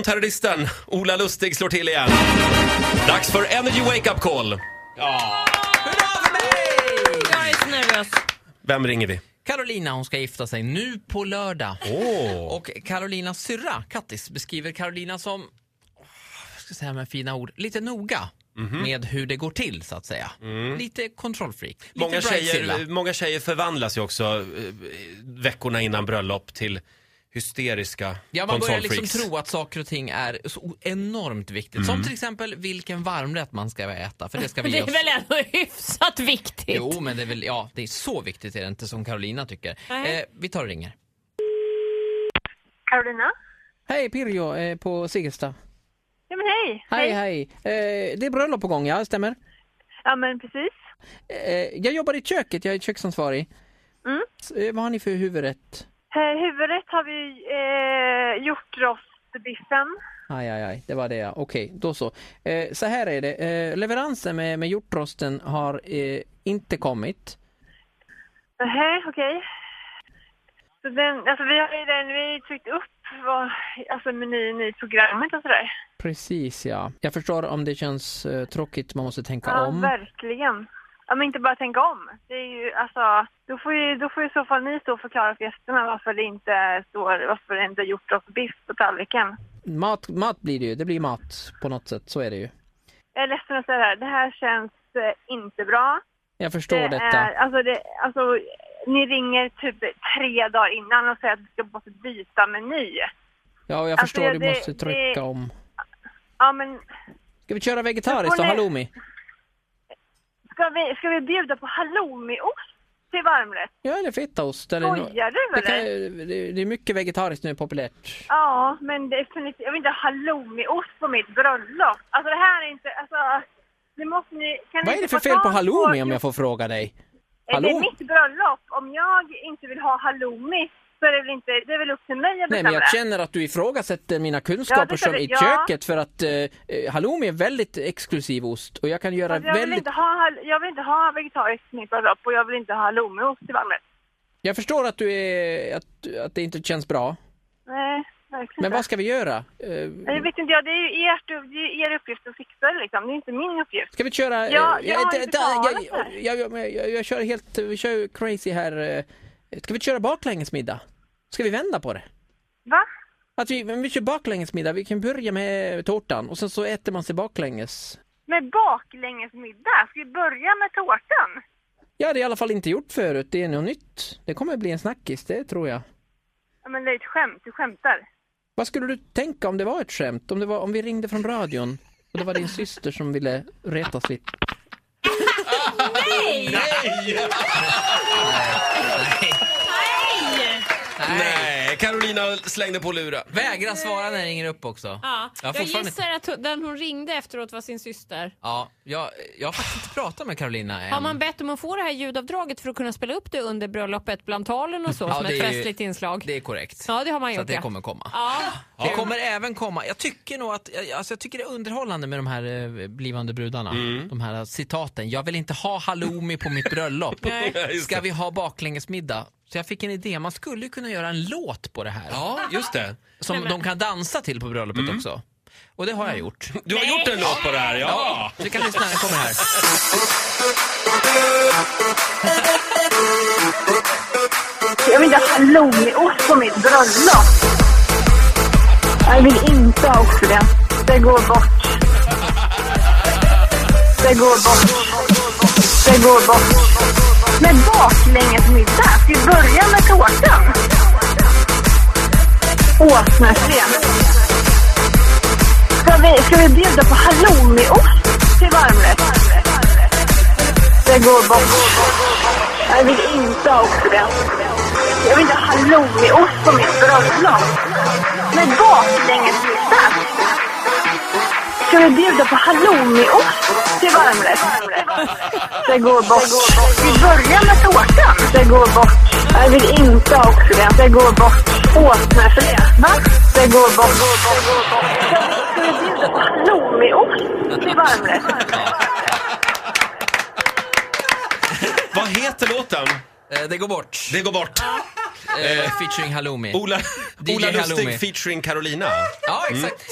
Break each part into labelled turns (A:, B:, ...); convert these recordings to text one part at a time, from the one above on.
A: Telefonterroristen Ola Lustig slår till igen. Dags för Energy Wake Up Call.
B: Jag är så nervös.
A: Vem ringer vi?
C: Carolina hon ska gifta sig nu på lördag.
A: Åh.
C: Och Carolinas syrra, Kattis, beskriver Carolina som, åh, vad ska jag säga med fina ord, lite noga
A: Mhm.
C: med hur det går till så att säga. Lite kontrollfreak. Lite
A: Mm. Många
C: bridezilla.
A: tjejer, eh, många tjejer förvandlas ju också eh, veckorna innan bröllop till hysteriska
C: Ja, man börjar liksom
A: kontrollfreaks. Mm.
C: tro att saker och ting är så enormt viktigt. Som till exempel vilken varmrätt man ska äta, för det ska vi
B: Det
C: ge
B: är
C: oss.
B: väl ändå hyfsat viktigt?
C: Jo, men det är väl, ja, det är så viktigt är det inte som Carolina tycker.
B: Nej.
C: Eh, vi tar och ringer.
D: Carolina?
E: Hej Pirjo eh, på Sigelsta.
D: Ja men hej!
E: Hej hej. Eh, det är bröllop på gång, ja stämmer.
D: Ja men precis.
E: Eh, jag jobbar i köket, jag är köksansvarig.
D: Mm.
E: S- eh, vad har ni för huvudrätt?
D: Eh, huvudrätt har vi eh, gjort rostbiffen.
E: Aj, aj, aj, det var det ja. Okej, då så. Eh, så här är det, eh, leveransen med, med hjortrosten har eh, inte kommit.
D: Nej, okej. Så den, alltså vi har ju den, vi har ju tryckt upp vad, alltså menyn i programmet och sådär.
E: Precis ja. Jag förstår om det känns eh, tråkigt, man måste tänka
D: Ja,
E: om.
D: verkligen. Ja men inte bara tänka om. Det är ju alltså, då får ju, då får ju i så fall ni stå och förklara för gästerna varför det inte står, varför det inte är gjort rostbiff på tallriken.
E: Mat, mat blir det ju, det blir mat på något sätt, så är det ju.
D: Jag är ledsen att säga det här, det här känns eh, inte bra.
E: Jag förstår
D: det
E: detta.
D: Är, alltså det, alltså, ni ringer typ tre dagar innan och säger att vi ska måste byta meny.
E: Ja, jag
D: Alltså,
E: förstår,
D: ja,
E: du
D: det-
E: måste
D: det-
E: trycka om.
D: Ja, men
E: Ska vi köra vegetariskt då,
D: Men får ni-
E: halloumi?
D: ska vi, ska vi bjuda på halloumiost till varmrätt?
E: Ja, eller fetaost. Eller nå-
D: Skojar du
E: det, kan,
D: eller?
E: det- det är mycket vegetariskt nu, populärt.
D: Ja, men definitivt. Jag vill inte ha halloumiost på mitt bröllop. Alltså det här är inte, alltså. Nu måste ni, kan ni
E: Vad är det
D: inte
E: för
D: få
E: fel på
D: tag
E: halloumi om jag får fråga dig?
D: Det
E: Halloumi?
D: är mitt bröllop. Om jag inte vill ha halloumi så är det väl inte, det är väl upp till mig att
E: Nej,
D: bestämma
E: men jag
D: det.
E: känner att du ifrågasätter mina
D: Ja,
E: kunskaper
D: det
E: som
D: kan
E: i
D: du- ja.
E: köket för att eh, eh, halloumi är väldigt exklusiv ost och jag kan göra
D: Alltså, jag, vill
E: väldigt...
D: inte ha, hall- jag vill inte ha vegetariskt till mitt bröllop och jag vill inte ha halloumiost till varmrätt.
E: Jag förstår att, du är, att, att det inte känns bra.
D: Nej, verkligen
E: Men
D: inte.
E: vad ska vi göra? Eh,
D: Jag vet inte, ja, det är ju ert, det är er uppgift att fixa det liksom. Det är inte min uppgift.
E: Ska vi köra... eh,
D: Ja, jag har
E: eh,
D: inte
E: eh, jag,
D: betalat för
E: jag, jag, jag, jag, jag kör helt... Vi kör ju crazy här. eh. Ska vi köra baklängesmiddag? Ska vi vända på det?
D: Va?
E: Att vi, men vi kör baklängesmiddag, vi kan börja med tårtan och sen så äter man sig baklänges.
D: Med baklängesmiddag? Ska vi börja med tårtan?
E: Jag hade i alla fall inte gjort förut, det är något nytt. Det kommer bli en snackis, det tror jag.
D: Ja, men det är ett skämt, du skämtar.
E: Vad skulle du tänka om det var ett skämt? Om, det var, om vi ringde från radion och det var din syster som ville retas lite?
B: Nej!
A: Nej, Carolina slängde på luren.
C: Vägra svara när jag ringer upp också.
B: Ja,
C: Jag har
B: jag
C: fortfarande-
B: gissar att hon- den hon ringde efteråt var sin syster.
C: Ja, jag, jag har faktiskt inte pratat med Carolina än.
B: Har man bett om att få det här ljudavdraget för att kunna spela upp det under bröllopet bland talen och så
C: Ja,
B: som
C: det
B: ett
C: är ju-
B: festligt inslag?
C: Det är korrekt.
B: Ja, det har man
C: Så
B: gjort.
C: att det
B: ja.
C: kommer komma.
B: Ja.
C: Det kommer även komma. Jag tycker nog att, jag- alltså jag tycker det är underhållande med de här eh, blivande brudarna. De här citaten. Jag vill inte ha halloumi på mitt bröllop.
A: just
C: Ska
A: det.
C: vi ha baklängesmiddag? Så jag fick en idé, man skulle ju kunna göra en låt på det här.
A: Ja, just det.
C: Som de kan dansa till på bröllopet också. Och det har jag gjort.
A: Du har gjort en låt på det här, ja.
C: Så vi kan lyssna när den kommer här.
D: Jag vill inte ha halloumiost på mitt bröllop. Jag vill inte ha också det. Det går bort. Det går bort. Det går bort. Med baklängesmiddag? Ska vi börja med tårtan? Åsneskren. Ska vi, ska vi bjuda på halloumiost till varmrätt? Det går bort. Jag vill inte ha också det. Jag vill inte ha halloumiost på mitt bröllop. Med baklängesmiddag? Ska vi bjuda på halloumiost till varmrätt? Det går bort. Vi börjar med tårtan. Det går bort. Jag vill inte ha oxfilé. Det går bort. Åsnefilé. Va? Det går bort. Ska vi- Ska vi bjuda på halloumiost till varmrätt?
A: Vad heter låten?
C: Eh, Det går bort.
A: Det går bort.
C: eh, featuring Halloumi.
A: Ola,
C: DJ
A: Ola
C: Halloumi.
A: Lustig featuring Carolina.
C: Ja, exakt.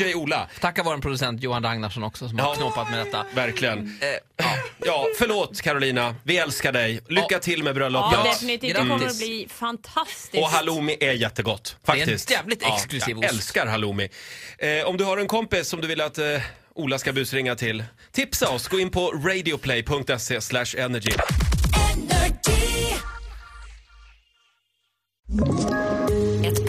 A: DJ Ola.
C: Tacka vår producent Johan Ragnarsson också som
A: Ja.
C: har knåpat med detta.
A: Verkligen.
C: Eh, ja.
A: Ja, förlåt Carolina. Vi älskar dig. Lycka
C: Ja.
A: till med
B: Ja,
A: bröllopet.
B: definitivt. Det kommer att
C: Grattis.
B: bli fantastiskt.
A: Och halloumi är jättegott.
C: är en
A: Faktiskt.
C: jävligt exklusiv
A: Jag
C: ost.
A: älskar halloumi. Eh, om du har en kompis som du vill att eh, Ola ska busringa till, tipsa oss. Gå in på radioplay.se slash energy.
F: Ett